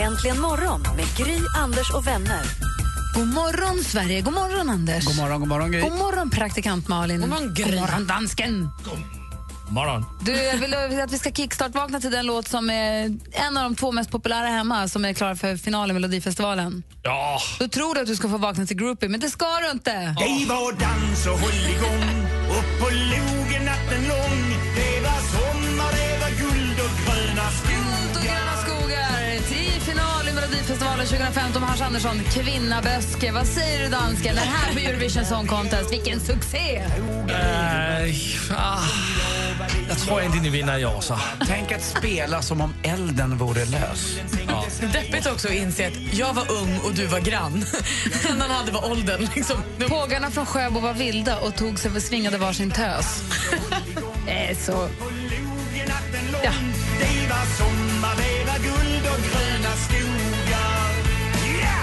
Äntligen morgon med Gry, Anders och vänner. God morgon, Sverige. God morgon, Anders. God morgon, god morgon, Gry. God morgon, praktikant Malin. God morgon, Gry. God morgon, dansken. morgon. Du, jag vill att vi ska kickstart-vakna till den låt som är en av de två mest populära hemma som är klar för finalen i Melodifestivalen. Ja, Då tror du att du ska få vakna till groupie, men det ska du inte. Hej var dans och håll igång Upp på logen natten lång Det var sommar, det var guld och gröna Guld och skogar gröna skogar i final i Melodifestivalen 2015 med Hans Andersson, Kvinna Böske. Vad säger du, dansken? Det här på Eurovision Song Contest, vilken succé! eh, ah, jag alltså. tror inte ni vinner i år. Så. Tänk att spela som om elden vore lös. Deppigt också att inse att jag var ung och du var grann. Den han hade var åldern. Liksom. Pågarna från Sjöbo var vilda och tog sig svingade varsin tös. Eh, så Logen natten lång Det var sommar, det var guld och gröna skogar yeah!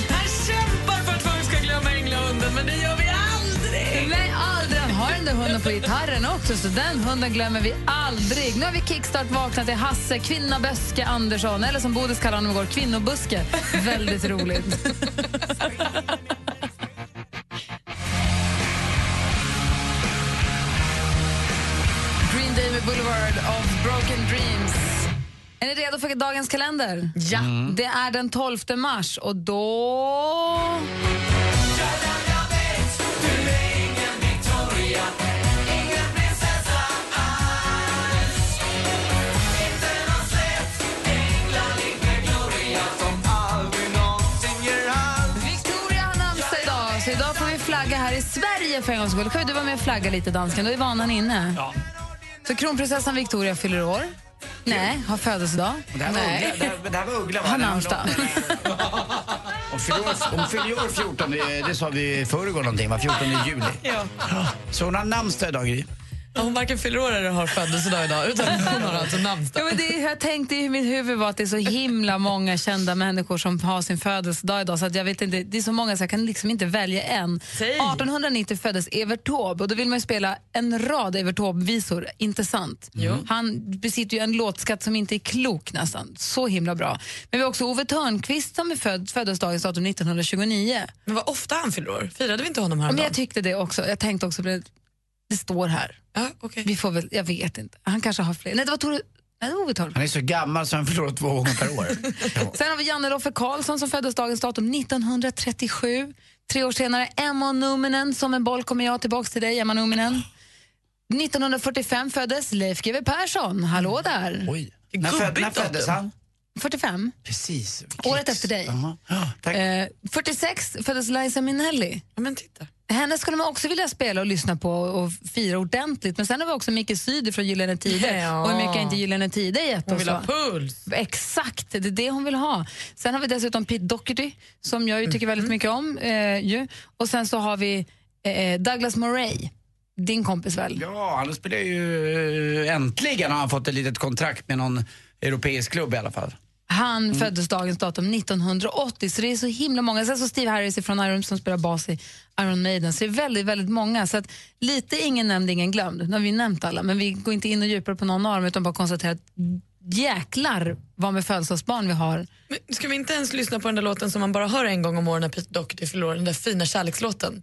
Han kämpar för att folk ska glömma änglahunden, men det gör vi aldrig! Nej, aldrig. Han har den där hunden på gitarren också, så den hunden glömmer vi aldrig. Nu har vi kickstart vaknat till Hasse, kvinna Böske Andersson, eller som Bodis kallade honom igår, kvinnobuske. Väldigt roligt. Green Day med Boulevard of Broken Dreams. Är ni redo för dagens kalender? Ja. Det är den 12 mars och då... Victoria har namnsdag idag, så idag får vi flagga här i Sverige för en gångs skull. Då kan ju du vara med och flagga lite, dansken. Då är vanan inne. Ja. Så kronprinsessan Victoria fyller år. Nej, har födelsedag. Det här var Nej. Uggla, det här, det här var Uggla va? Har namnsdag. Hon fyller år- Hon fyller ju år 14, det det sa vi i förrgår någonting va? 14 juli. Ja. Så hon har namnsdag idag Gry. Hon varken fyller år eller har födelsedag idag, utan hon har alltså namnsdag. Ja, men det jag tänkte i mitt huvud var att det är så himla många kända människor som har sin födelsedag idag. Så att jag vet inte, det är så många så jag kan liksom inte välja en. Säg. 1890 föddes Evert Taube och då vill man ju spela en rad Evert Taube-visor. Inte sant? Han besitter ju en låtskatt som inte är klok nästan. Så himla bra. Men vi har också Ove Thörnqvist som är född födelsedagens datum 1929. Men vad ofta han fyller år. Firade vi inte honom Men häromdagen? jag tyckte det också. Jag tänkte också på det. Det står här. Ja, okej. Vi får väl, jag vet inte. Han kanske har fler. Nej, det var Tore... Nej, det var Ove Thörnqvist. Han är så gammal så han fyller år två gånger per år. Sen har vi Janne Roffe Karlsson som föddes dagens datum 1937. Tre år senare Emma Numminen, som en boll kommer jag tillbaks till dig Emma Numminen. 1945 föddes Leif GW Persson, hallå där. Oj. När, föd, när Gubbigt föddes datum. han? 45. Precis. Året efter dig. Jaha. Ja, Tack. Eh, 46 föddes Liza Minnelli. Ja, men titta. Henne skulle man också vilja spela och lyssna på och fira ordentligt. Men sen har vi också Micke Syder från Gyllene Tider. Ja. Och hur mycket har inte Gyllene Tider gett Hon oss? vill ha va? puls. Exakt, det är det hon vill ha. Sen har vi dessutom Pete Doherty som jag ju Mm. tycker väldigt mycket om. Eh, ju. Och sen så har vi eh, Douglas Murray, din kompis väl? Ja, han spelar ju... eh, Äntligen har han fått ett litet kontrakt med någon europeisk klubb i alla fall. Han föddes dagens datum 1980, så det är så himla många. Sen så Steve Harris från Iron som spelar bas i Iron Maiden, så det är väldigt, väldigt många. Så att lite ingen nämnd, ingen glömd. Nu har vi nämnt alla, men vi går inte in och djupare på någon av dem utan bara konstaterar att jäklar vad med födelsedagsbarn vi har. Men ska vi inte ens lyssna på den där låten som man bara hör en gång om året när Pete Doherty fyller år, den där fina kärlekslåten?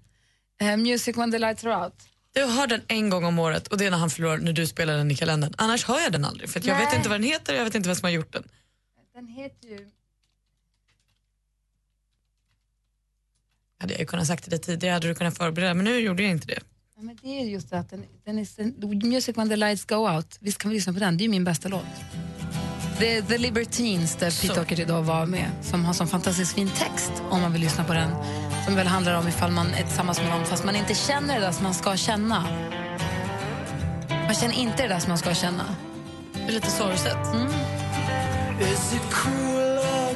Eh, music when the lights are out. Jag hör den en gång om året och det är när han fyller år, när du spelar den i kalendern. Annars hör jag den aldrig för att jag Nej. vet inte vad den heter och jag vet inte vem som har gjort den. Den heter ju... Hade jag ju kunnat sagt det tidigare hade du kunnat förbereda men nu gjorde jag inte det. Ja, men det är just det att den, den är, den, Music when the lights go out, visst kan vi lyssna på den, det är ju min bästa låt. Det är The Libertines där Pete Så. Doherty då var med, som har sån fantastiskt fin text om man vill lyssna på den. Som väl handlar om ifall man är tillsammans med någon fast man inte känner det där som man ska känna. Man känner inte det där som man ska känna. Mm. Det är lite sorgset. Is it cool or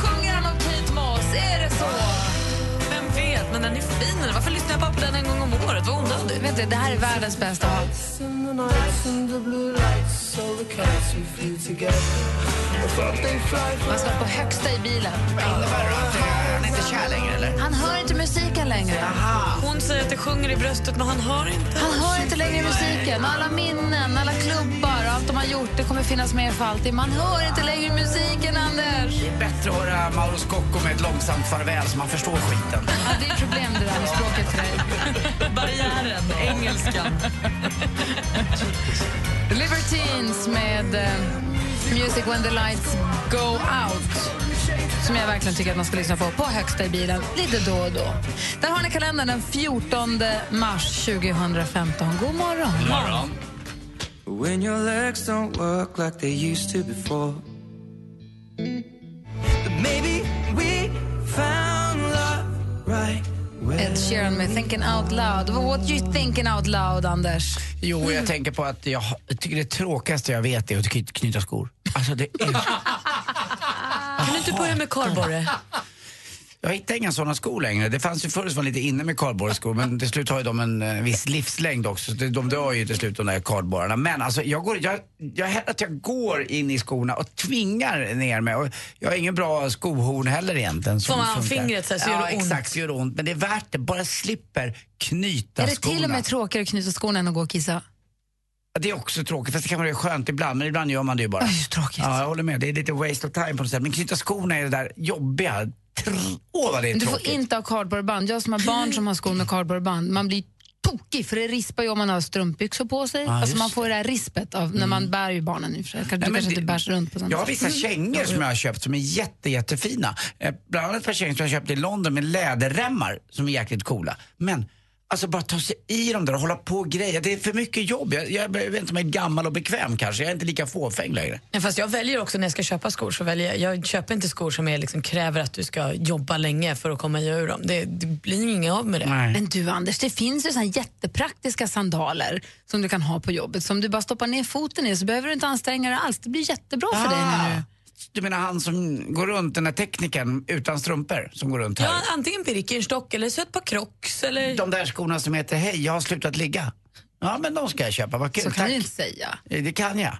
Sjunger han om Kate Moss? Är det så? Vem vet, men den är fin. eller? Varför lyssnar jag bara på den en gång om året? Vad onödigt. Vet du, det här är världens bästa låt. Man ska på högsta i bilen. Han är inte kär längre eller? Han hör inte musiken längre. Hon säger att det sjunger i bröstet, men han hör inte. Han hör inte längre musiken. Alla minnen, alla klubbar, allt de har gjort, det kommer finnas med för alltid. Man hör inte längre musiken, Anders. Det är bättre att höra Mauro Scocco med ett långsamt farväl så man förstår skiten. Ja, det är ett problem det där med språket för dig. Barriären, engelskan. Libertines med eh, Music when the lights go out som jag verkligen tycker att man ska lyssna på på högsta i bilen lite då och då. Där har ni kalendern den 14 mars 2015. God morgon! Morgon. When your legs don't work like they used to before. But maybe we found love right where Ed Sheeran med Thinking Out Loud. What you thinking out loud, Anders? Jo, jag tänker på att jag tycker det tråkigaste jag vet är att kny- knyta skor. Alltså det är... Kan du inte börja med kardborre? Jag hittar inga sådana skor längre. Det fanns ju förr som var lite inne med kardborreskor men till slut har ju de en eh, viss livslängd också. Så det- de dör ju till slut de där kardborrarna. Men alltså jag går, jag, jag, hellre att jag går in i skorna och tvingar ner mig. Och jag har ingen bra skohorn heller egentligen. Som funkar. fingret så här, så ja, gör det ont. exakt, så gör det ont. Men det är värt det. Bara slipper knyta Är det skorna. till och med tråkigare att knyta skorna än att gå och kissa? Ja, Det är också tråkigt, fast det kan vara skönt ibland, men ibland gör man det ju bara. Aj, så tråkigt. Ja, jag håller med. Det är lite waste of time på något sätt. Men knyta skorna är det där jobbiga. Trr, Åh, vad det är Men Du får tråkigt. inte ha kardborreband. Jag som har barn som har skor med kardborreband, man blir tokig för det rispar ju om man har strumpbyxor på sig. alltså Ah, just Mm. man får det här rispet av när man bär ju barnen i och för sig. Du Nej, men kanske det- inte bärs runt på sånt. Jag har vissa kängor som jag har köpt som är jätte, jättefina. Eh, Bland annat ett par kängor som jag köpte i London med läderremmar som är jäkligt coola. Men alltså bara ta sig i dem där och hålla på och greja. Det är för mycket jobb. Jag, jag vet inte om jag är gammal och bekväm kanske. Jag är inte lika fåfäng längre. Ja, fast jag väljer också när jag ska köpa skor. Så väljer jag, jag köper inte skor som är, liksom, kräver att du ska jobba länge för att komma ur dem. Det, det blir inget av med det. Men du Anders, det finns ju såna här jättepraktiska sandaler som du kan ha på jobbet. Som du bara stoppar ner foten i så behöver du inte anstränga dig alls. Det blir jättebra för dig Ah, när du... Du menar han som går runt, den här teknikern utan strumpor som går runt här? Ja, antingen Birkenstock eller så ett par Crocs. Eller... De där skorna som heter Hej, jag har slutat ligga. Ja, men de ska jag köpa. Vad kul. Så kan Tack. du inte säga, Eh, Det kan jag.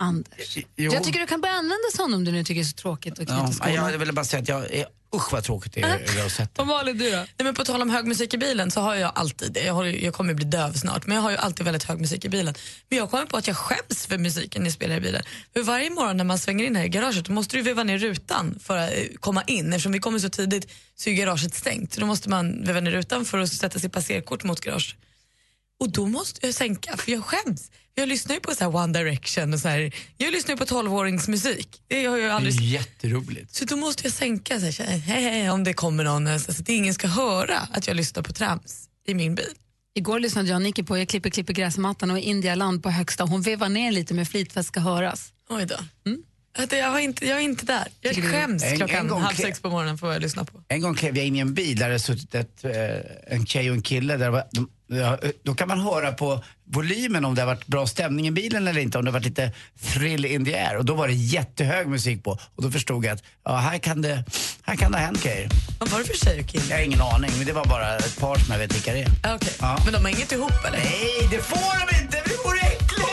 Anders. Jo. Jag tycker du kan börja använda sådana om du nu tycker det är så tråkigt att knyta Ja, skorna. jag ville bara säga att jag är... Usch vad tråkigt det är det har sett. Och Malin, du då? Nej, men på tal om hög musik i bilen så har jag alltid, jag, har, ju- jag kommer bli döv snart, men jag har ju alltid väldigt hög musik i bilen. Men jag kommer på att jag skäms för musiken ni spelar i bilen. För varje morgon när man svänger in här i garaget då måste du veva ner rutan för att eh, komma in. Eftersom vi kommer så tidigt så är garaget stängt. Så då måste man veva ner rutan för att sätta sitt passerkort mot garaget. Och då måste jag sänka för jag skäms. Jag lyssnar ju på så här One Direction och så här, jag lyssnar ju på 12-åringsmusik. Det har jag ju aldrig Jätteroligt. så då måste jag sänka så här, hej, hej, om det kommer någon så att ingen ska höra att jag lyssnar på trams i min bil. Igår lyssnade jag och Nicky på Jag klipper, klipper gräsmattan och Indialand på högsta. Hon vevar ner lite med flit för att ska höras. Oj då. Att jag, var inte, jag är inte där. Jag Tycker du- Mm. skäms En- en klockan gång halv till. sex på morgonen för vad jag lyssnar på. En gång klev jag in i en bil där det suttit ett, eh, en tjej och en kille. Där det var, de, ja, eh, då kan man höra på volymen om det har varit bra stämning i bilen eller inte. Om det har varit lite thrill in the air. Och då var det jättehög musik på. Och då förstod jag att ja, här, kan det, här kan det ha hänt grejer. Vad var det för tjej och kille? Jag har ingen aning, men det var bara ett par som jag vet vilka det är. Ja, okej. Ja. Men de har inget ihop eller? Nej, det får de inte! Det vore äckligt!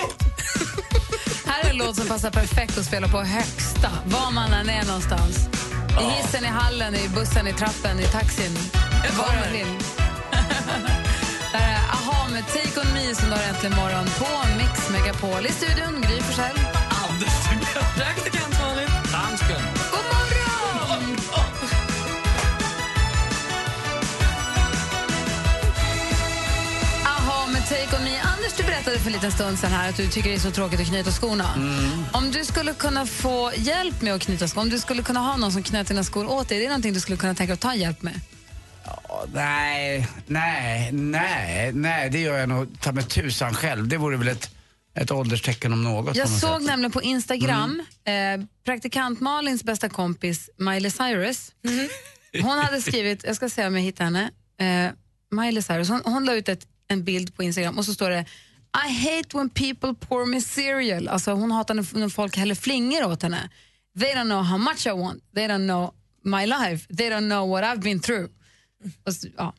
Här är en låt som passar perfekt att spela på högsta, var man än är någonstans. I hissen, i hallen, i bussen, i trappen, i taxin. Var man vill. Där är Aha med Take On Me som du har äntligen morgon på Mix Megapol. I studion, Gry Forssell. Praktikant Malin. God morgon! Aha, med Take On Me. Anders, du berättade för en liten stund sedan här att du tycker det är så tråkigt att knyta skorna. Om du skulle kunna få hjälp med att knyta skor, om du skulle kunna ha någon som knöt dina skor åt dig, är det någonting du skulle kunna tänka dig att ta hjälp med? Ja, Nej, nej, nej, nej, det gör jag nog ta med tusan själv. Det vore väl ett ett ålderstecken om något. Jag på såg något sätt. Mm. nämligen på Instagram eh, praktikant Malins bästa kompis Miley Cyrus. Hon hade skrivit, jag ska se om jag hittar henne, eh, Miley Cyrus, hon, hon la ut ett, en bild på Instagram och så står det I hate when people pour me cereal. Alltså hon hatar när när folk häller flingor åt henne. They don't know how much I want, they don't know my life, they don't know what I've been through. Och, så- ja.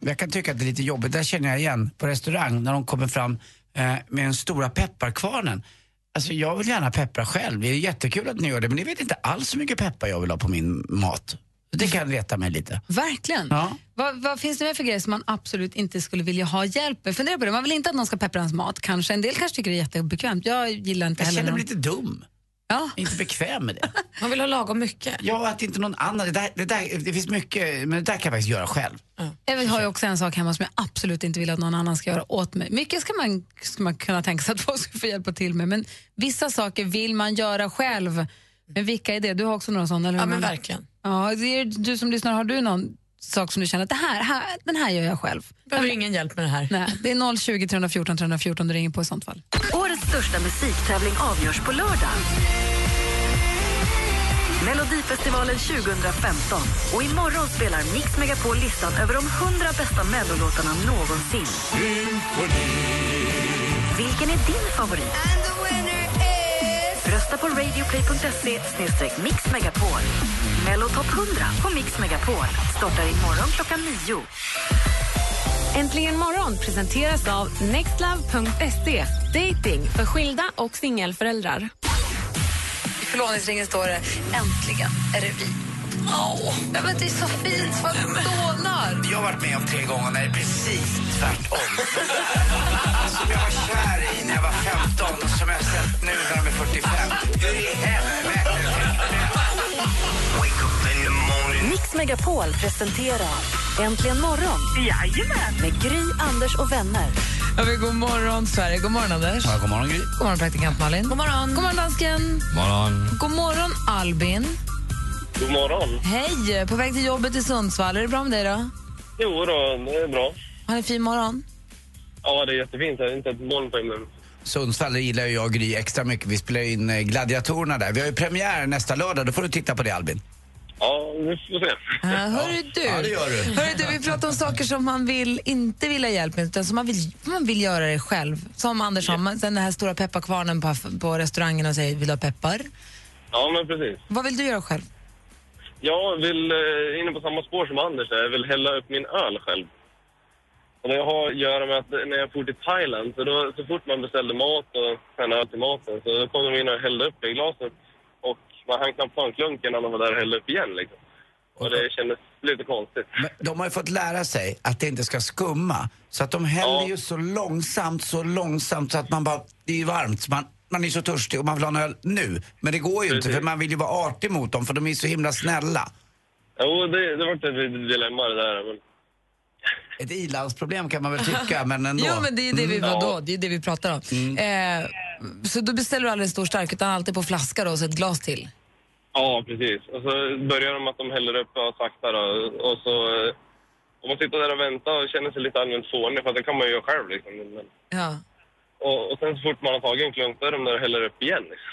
Jag kan tycka att det är lite jobbigt, där känner jag igen på restaurang när de kommer fram eh, med den stora pepparkvarnen. Alltså jag vill gärna peppra själv, det är jättekul att ni gör det men ni vet inte alls hur mycket peppar jag vill ha på min mat. Det kan reta mig lite. Verkligen. Ja. Vad, vad finns det mer för grejer som man absolut inte skulle vilja ha hjälp med? Fundera på det. Man vill inte att någon ska peppra ens mat. Kanske. En del kanske tycker det är jättebekvämt. Jag gillar inte Jag heller känner mig någon- lite dum, ja. inte bekväm med det. Man vill ha lagom mycket. Ja, att inte någon annan, det, där, det, där, det finns mycket, men det där kan jag faktiskt göra själv. Jag har ju också en sak hemma som jag absolut inte vill att någon annan ska göra åt mig. Mycket ska man, ska man kunna tänka sig att folk ska få hjälpa till med, men vissa saker vill man göra själv. Men vilka är det? Du har också några sådana? Eller Ja hur, men Malin? verkligen. Ja, det är, du som lyssnar, har du någon sak som du känner att det här, här, den här gör jag själv? Behöver ingen hjälp med det här. Nej, det är 020 314 314 du ringer på i sånt fall. Årets största musiktävling avgörs på lördag. Melodifestivalen 2015. Och imorgon spelar Mix Megapol listan över de 100 bästa mellolåtarna någonsin. Vilken är din favorit? Rösta på radioplay.se mixmegapol. Mello Top 100 på Mix Megapol startar imorgon klockan 9. Äntligen morgon presenteras av nextlove.se. Dating för skilda och singelföräldrar. I förlovningsringen står det Äntligen är det vi. Åh, ja, men det är så fint, vad du dånar. Jag har varit med om tre gånger när det är precis tvärtom. som jag var kär i när jag var 15 och som jag har sett nu när de är 45. Hur i helvete? Mix Megapol presenterar Äntligen morgon med Gry, Anders och vänner. Ja, men god morgon, Sverige. God morgon, Anders. God morgon, Gry. God morgon, praktikant Malin. God morgon. God morgon, dansken. Morgon. God morgon, Albin. God morgon. Hej, på väg till jobbet i Sundsvall. Är det bra med dig då? Jo då, det är bra. Har en fin morgon? Ja, det är jättefint. Det är inte ett moln på himlen. Sundsvall det gillar ju jag och Gry extra mycket. Vi spelar in eh, Gladiatorerna där. Vi har ju premiär nästa lördag. Då får du titta på det, Albin. Ja, vi får se. Ja, hörru du. Ja, det gör du. Hörru du, vi pratar om saker som man vill, inte vill ha hjälp med, utan som man vill, man vill göra det själv. Som Anders har, man- den här stora pepparkvarnen på, på restaurangen och säger vill du ha peppar? Ja, men precis. Vad vill du göra själv? Jag vill, eh, inne på samma spår som Anders, där, jag vill hälla upp min öl själv. Och det har att göra med att när jag for till Thailand, så, då, så fort man beställde mat och en öl till maten, så då kom de in och hällde upp i glaset. Och man hann knappt ta en klunk innan de var där och hällde upp igen. Liksom. Och det kändes lite konstigt. Men de har ju fått lära sig att det inte ska skumma. Så att de häller Ja. ju så långsamt, så långsamt så att man bara, det är ju varmt. Så man, man är så törstig och man vill ha en öl nu. Men det går ju inte Precis. för man vill ju vara artig mot dem för de är så himla snälla. Jo, det, det var ett litet dilemma det där. Men Ett ilandsproblem kan man väl tycka, men ändå. Jo, men det är ju det vi, Mm. Ja. Mm. vadå, det är ju det vi pratar om. Eh, så då beställer du aldrig en stor stark, utan alltid på flaska då, och så ett glas till. Ja, precis. Och så börjar de med att de häller upp och sakta då. Och så... eh, Om man sitter där och väntar och känner sig lite allmänt fånig, för att det kan man ju göra själv liksom. Men, Ja. och, och sen så fort man har tagit en klunk, då är de där och häller upp igen. Liksom.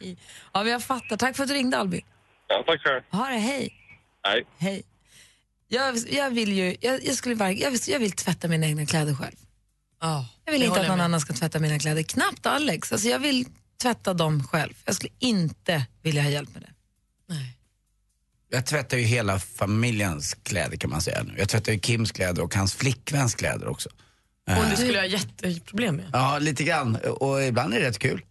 ja, men jag fattar. Tack för att du ringde, Albin. Ja, tack själv. Ha det, hej. Nej. Hej. Jag, jag vill ju, jag, jag skulle verk- jag, vill, jag vill tvätta mina egna kläder själv. Ja, Jag vill det inte håller att jag någon med. annan ska tvätta mina kläder. Knappt Alex. Alltså, jag vill tvätta dem själv. Jag skulle inte vilja ha hjälp med det. Jag tvättar ju hela familjens kläder kan man säga nu. Jag tvättar ju Kims kläder och hans flickväns kläder också. Och det skulle jag ha jätteproblem med. Ja, lite grann. Och ibland är det rätt kul.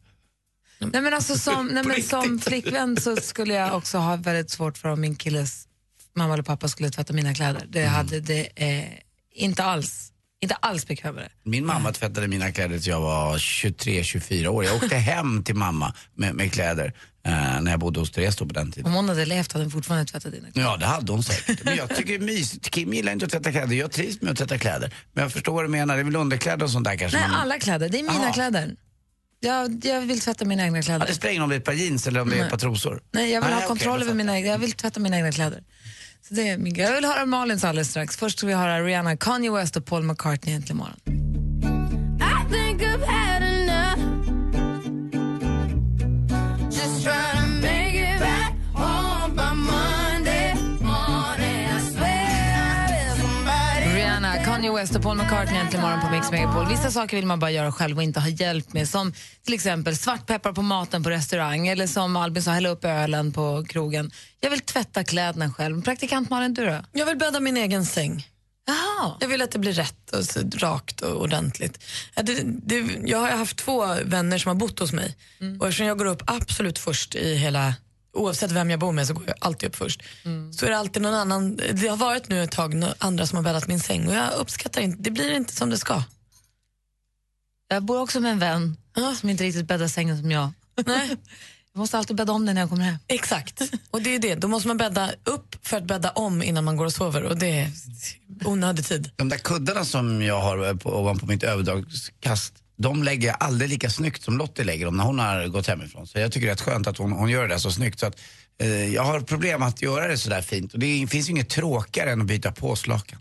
Nej, men alltså, som, nej, men riktigt. som flickvän så skulle jag också ha väldigt svårt för om min killes mamma eller pappa skulle tvätta mina kläder. Det hade det eh, inte alls. Inte alls bekvämare. Min mamma tvättade mina kläder tills jag var 23-24 år. Jag åkte hem till mamma med, med kläder eh, när jag bodde hos Therese då på den tiden. Om hon hade levt hade hon fortfarande tvättat dina kläder. Ja, det hade hon säkert. Men jag tycker det är mysigt. Kim gillar inte att tvätta kläder. Jag trivs med att tvätta kläder. Men jag förstår vad du menar. Det är väl underkläder och sånt där kanske? Nej, Mm. man- alla kläder. Det är mina Aha. kläder. Jag, jag vill tvätta mina egna Ja, kläder. det spelar ingen roll om det är ett par jeans eller om det är ett par trosor. Nej, Ah, jag vill ha okej, kontroll då över fattar mina egna, jag vill tvätta mina egna kläder. Så det är min grej. Jag vill höra Malins alldeles strax. Först ska vi höra Rihanna, Kanye West och Paul McCartney äntligen imorgon. I think of Just trying to make it back home by Monday morning. I swear I live somebody. Rihanna, Kanye West och Paul McCartney äntligen morgon på Mix Megapol. Vissa saker vill man bara göra själv och inte ha hjälp med. Som till exempel svartpeppar på maten på restaurang eller som Albin sa, hälla upp ölen på krogen. Jag vill tvätta kläderna själv. Praktikant Malin, du då? Jag vill bädda min egen säng. Jag vill att det blir rätt och så, rakt och ordentligt. Att Det, det, jag har haft två vänner som har bott hos mig och eftersom jag går upp absolut först i hela, oavsett vem jag bor med så går jag alltid upp först. Så är det alltid någon annan, det har varit nu ett tag nå- andra som har bäddat min säng och jag uppskattar inte, det blir inte som det ska. Jag bor också med en vän som inte riktigt bäddar sängen som jag. Nej. jag måste alltid bädda om den när jag kommer hem. Exakt, och det är ju det, då måste man bädda upp för att bädda om innan man går och sover och det är onödig tid. De där kuddarna som jag har eh, på, ovanpå mitt överdragskast, de lägger jag aldrig lika snyggt som Lottie lägger dem när hon har gått hemifrån. Så jag tycker det är rätt skönt att hon, hon gör det där så snyggt. Så att, eh, jag har problem att göra det sådär fint. Och det är- finns ju inget tråkigare än att byta påslakan.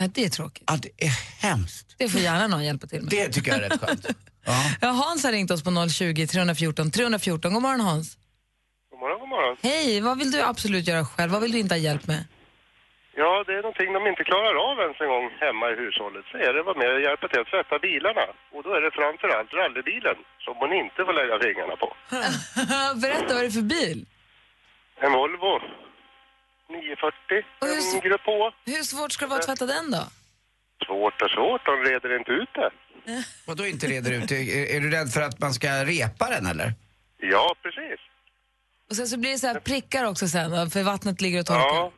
Nej, det är tråkigt. Ja, det är hemskt. Det får gärna någon hjälpa till med. Det tycker jag är rätt skönt. Ja, Hans har ringt oss på 020 314 314. God morgon Hans. God morgon, god morgon. Hej, vad vill du absolut göra själv? Vad vill du inte ha hjälp med? Ja, det är någonting de inte klarar av ens en gång hemma i hushållet. Så är det vad med att hjälpa till att tvätta bilarna. Och då är det framförallt rallybilen som man inte får lägga fingrarna på. Berätta, vad är det för bil? En Volvo 940, en grupp på. Hur svårt ska det vara att tvätta den då? Svårt och svårt, de reder inte ut det. Och då inte reder ut, är, är du rädd för att man ska repa den eller? Ja, precis. Och sen så blir det så här prickar också sen, va? för vattnet ligger och torkar. Ja,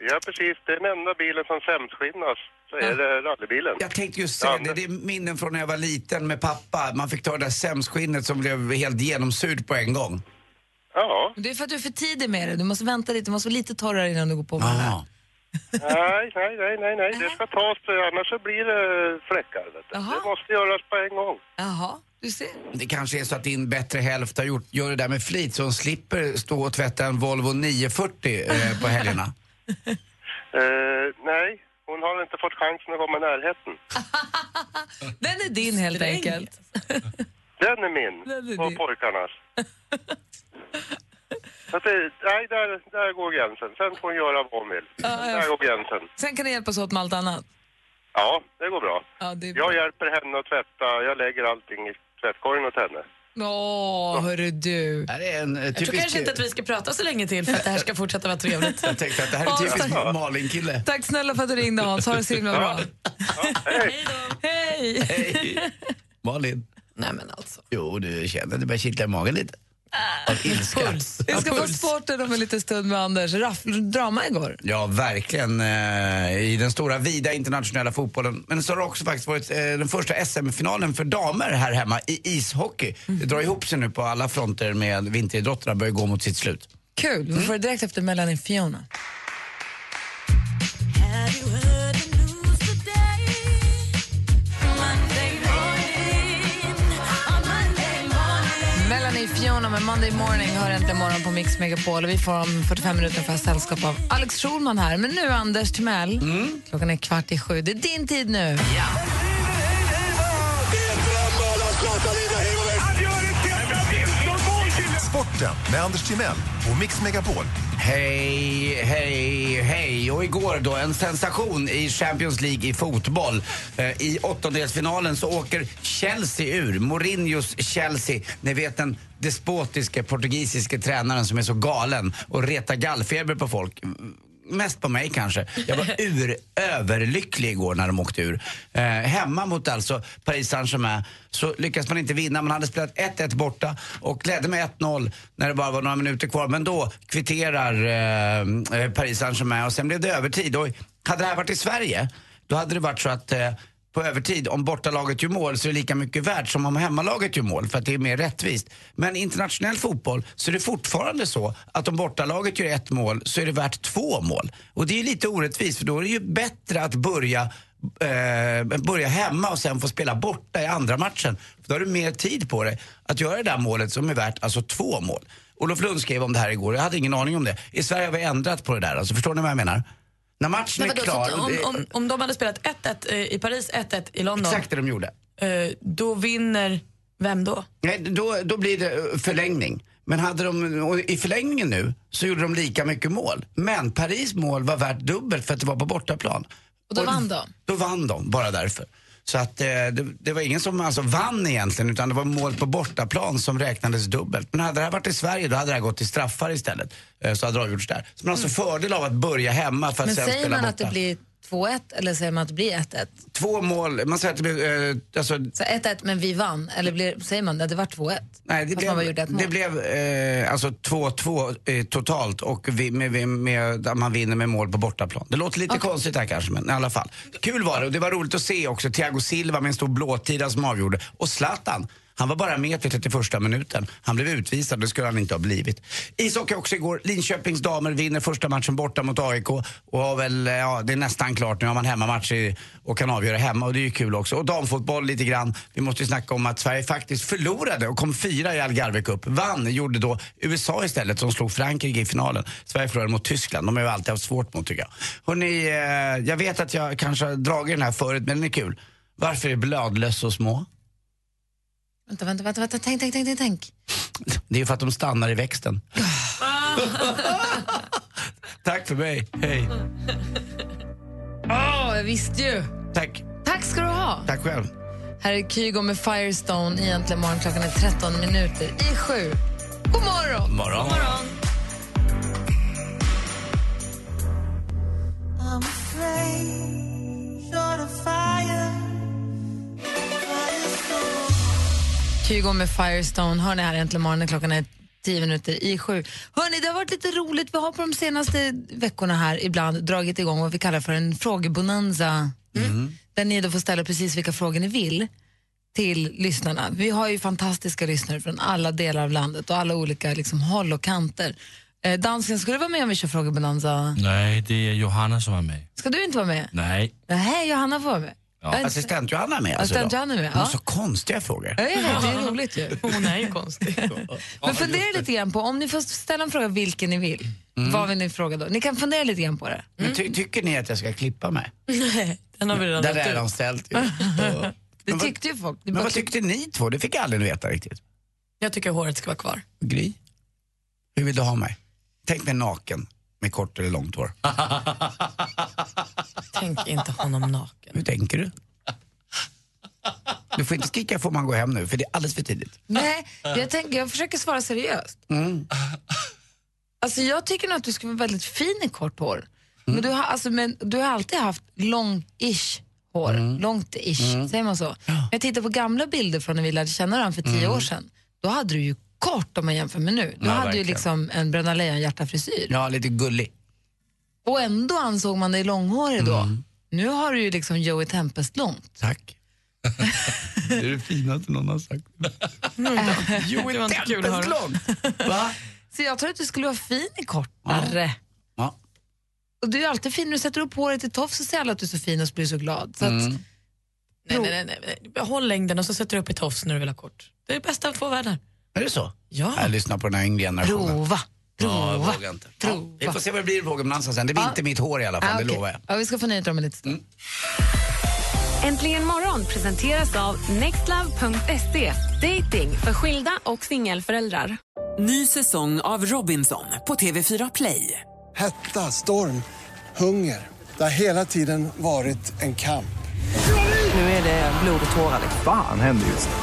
ja precis. Det är den enda bilen som sämskinnas. Så är det rallybilen. Jag tänkte just säga det, det är minnen från när jag var liten med pappa. Man fick ta det där sämskinnet som blev helt genomsurt på en gång. Ja. Men Det är för att du är för tidig med det. Du måste vänta lite, du måste vara lite torrare innan du går på med den här. Ja. Nej, nej, nej, nej, nej. Det ska tas, annars så blir det fläckar. Vet du. Det måste göras på en gång. Jaha, du ser. Det kanske är så att din bättre hälft har gjort, gör det där med flit så hon slipper stå och tvätta en Volvo 940 eh, på helgerna. Eh, nej, hon har inte fått chansen att komma i närheten. Den är din helt enkelt. Den är min och pojkarnas. Så att det, nej, där, där går gränsen. Sen får hon göra vad hon vill. Ja, Där ja. går gränsen. Sen kan det hjälpas åt med allt annat. Ja, det går bra. Ja, det är Jag hjälper henne att tvätta. Jag lägger allting i tvättkorgen åt henne. Åh, hörru du. Det är en, eh, Jag tror typisk- kanske inte att vi ska prata så länge till för att det här ska fortsätta vara trevligt. Jag tänkte att det här är Hans, typiskt tack. Malin-kille. Tack snälla för att du ringde Hans, ha det så himla bra. Hej! Hej. Malin. Nej men alltså. Jo, du känner att det börjar kittla i magen lite. Ah. Av ilska. Vi ska Av få puls. sporten om en liten stund med Anders. Raff, drama igår. Ja, verkligen. eh, I den stora, vida internationella fotbollen. Men så har det också faktiskt varit eh, den första SM-finalen för damer här hemma i ishockey. Mm. Det drar ihop sig nu på alla fronter med vinteridrotterna börjar gå mot sitt slut. Kul, vi får det direkt efter Melanie Fiona. Have you heard the news today? Monday morning, on Monday morning. Melanie Fiona med Monday Morning hör äntligen morgon på Mix Megapol. Och Vi får om 45 minuter för sällskap av Alex Schulman här. Men nu Anders Timell, klockan är kvart i sju. Det är din tid nu. Sporten med Anders Timell och Mix Megapol. Hej, hej, hej. Och igår då en sensation i Champions League i fotboll. Eh, I åttondelsfinalen så åker Chelsea ur. Mourinhos Chelsea. Ni vet den despotiske portugisiske tränaren som är så galen och retar gallfeber på folk. Mm, Mest på mig kanske. Jag var uröverlycklig igår när de åkte ur. Eh, hemma mot alltså Paris Saint-Germain så lyckas man inte vinna. Man hade spelat 1-1 borta och ledde med 1-0 när det bara var några minuter kvar. Men då kvitterar eh, eh, Paris Saint-Germain och sen blev det övertid. Och hade det här varit i Sverige, då hade det varit så att eh, på övertid, om bortalaget gör mål så är det lika mycket värt som om hemmalaget gör mål för att det är mer rättvist. Men i internationell fotboll så är det fortfarande så att om bortalaget gör ett mål så är det värt två mål. Och det är lite orättvist för då är det ju bättre att börja eh, börja hemma och sen få spela borta i andra matchen. För då har du mer tid på dig att göra det där målet som är värt alltså två mål. Olof Lund skrev om det här igår, jag hade ingen aning om det. I Sverige har vi ändrat på det där, alltså, förstår ni vad jag menar? När matchen Nej, är vadå, klar... så och om, det- om, om de hade spelat 1-1 i Paris, 1-1 i London, Exakt det de gjorde. eh, då vinner vem då? Nej, då, då blir det eh, förlängning. Men hade de, och i förlängningen nu så gjorde de lika mycket mål. Men Paris mål var värt dubbelt för att det var på bortaplan. Och då vann de. Då vann de, bara därför. Så att eh, det, det var ingen som alltså vann egentligen utan det var mål på bortaplan som räknades dubbelt. Men hade det här varit i Sverige då hade det här gått till straffar istället. Eh, så hade det avgjorts där. Så man har alltså fördel av att börja hemma för Mm. att Men sen säger spela man borta. att det blir 2-1 eller säger man att det blir 1-1? Två mål, man säger att det blir, eh, alltså, Så 1-1 men vi vann, eller blir, säger man att det var 2-1? Nej, det Fast man bara gjorde blev, ett mål. det blev eh, alltså 2-2 eh, totalt och vi, med, med, med, där man vinner med mål på bortaplan. Det låter lite konstigt här kanske, men i alla fall. Kul var det och det var roligt att se också Thiago Silva med en stor blåtira som avgjorde. Och Zlatan, han var bara med till 31 minuten. Han blev utvisad, det skulle han inte ha blivit. Ishockey också igår. Linköpings damer vinner första matchen borta mot AIK och har väl, eh, ja, det är nästan klart. Nu har man hemmamatch i, och kan avgöra hemma och det är ju kul också. Och damfotboll lite grann. Vi måste ju snacka om att Sverige faktiskt förlorade och kom fyra i Algarve Cup. Vann gjorde då USA istället som slog Frankrike i finalen. Sverige förlorade mot Tyskland. De har ju alltid haft svårt mot tycker jag. Hörrni, eh, jag vet att jag kanske har dragit den här förut men den är kul. Varför är bladlöss så små? Vänta, vänta, vänta, vänta, tänk, tänk, tänk, tänk, tänk. Det är ju för att de stannar i växten. Tack för mig, hej. Åh, jag visste ju! Tack. Tack ska du ha! Tack själv. Här är Kygo med Firestone egentligen morgon klockan är 13 minuter i sju. God morgon! God morgon. God morgon. I'm afraid you're the fire. Firestorm. Kygo med Firestone. Hör ni här äntligen morgonen, klockan är 10 minuter i sju. Hörni, det har varit lite roligt. Vi har på de senaste veckorna här ibland dragit igång vad vi kallar för en frågebonanza. Där ni då får ställa precis vilka frågor ni vill till lyssnarna. Vi har ju fantastiska lyssnare från alla delar av landet och alla olika liksom, håll och kanter. Eh, dansken, ska du vara med om vi kör frågebonanza? Nej, det är Johanna som är med. Ska du inte vara med? Nej. Nej, Johanna får vara med. Jag är inte- Assistent Johanna är med alltså Assistent då? Johanna är med, Hon har ja. så konstiga frågor. Ja, jag vet, det är roligt ju. Hon är ju konstig. Men fundera lite grann på, om ni får ställa en fråga vilken ni vill, Mm. vad vill ni fråga då? Ni kan fundera lite grann på det. Men ty- tycker ni att jag ska klippa mig? Nej, den har vi redan Där lagt är de ut. ställt. ju. Ja. Det Men vad- tyckte ju folk. Det Men bara vad tyckte ni två? Det fick jag aldrig veta riktigt. Jag tycker håret ska vara kvar. Gry, hur vill du ha mig? Tänk mig naken med kort eller långt hår. Tänk inte honom naken. Hur tänker du? Du får inte skrika får man gå hem nu för det är alldeles för tidigt. Nej, jag, tänker, jag försöker svara seriöst. Mm. Alltså, jag tycker nog att du ska vara väldigt fin i kort hår. Men, du har, alltså, men du har alltid haft lång-ish hår. Långt-ish, Mm. säger man så? Jag tittar på gamla bilder från när vi lärde känna varandra för tio år sedan. Då hade du ju kort om man jämför med nu. Du Mm. Ja, hade verkligen. ju liksom en Bröderna Lejonhjärta-frisyr. Ja, lite gullig. Och ändå ansåg man dig långhårig då. Mm. Nu har du ju liksom Joey Tempest långt. Tack. Det är det finaste någon har sagt. Jo, Mm. det var inte kul att höra. Tempeslång! Va? Så jag tror att du skulle vara fin i kortare. Ja. Och du är ju alltid fin. När du sätter upp håret i tofs så ser alla att du är så fin och så blir du så glad. Så att, Mm. Nej, nej, nej, nej, nej. Behåll längden och så sätter du upp ett tofs när du vill ha kort. Det är det bästa av två världar. Är det så? Ja. Jag lyssnar på den här yngre generationen. Prova. Ja, jag Prova. vågar inte. Prova. Ja, vi får se vad det blir i frågebonanza sen. Det blir inte mitt hår i alla fall, Ah, det okej. lovar jag. Ja, vi ska få nyheter om en liten stund. Äntligen morgon presenteras av nextlove.se. Dating för skilda och singelföräldrar. Ny säsong av Robinson på TV4 Play. Hetta, storm, hunger. Det har hela tiden varit en kamp. Nu är det blod och tårar. Fan händer just det.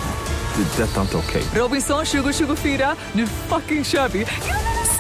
Det är detta inte okej. Robinson 2024, nu fucking kör vi!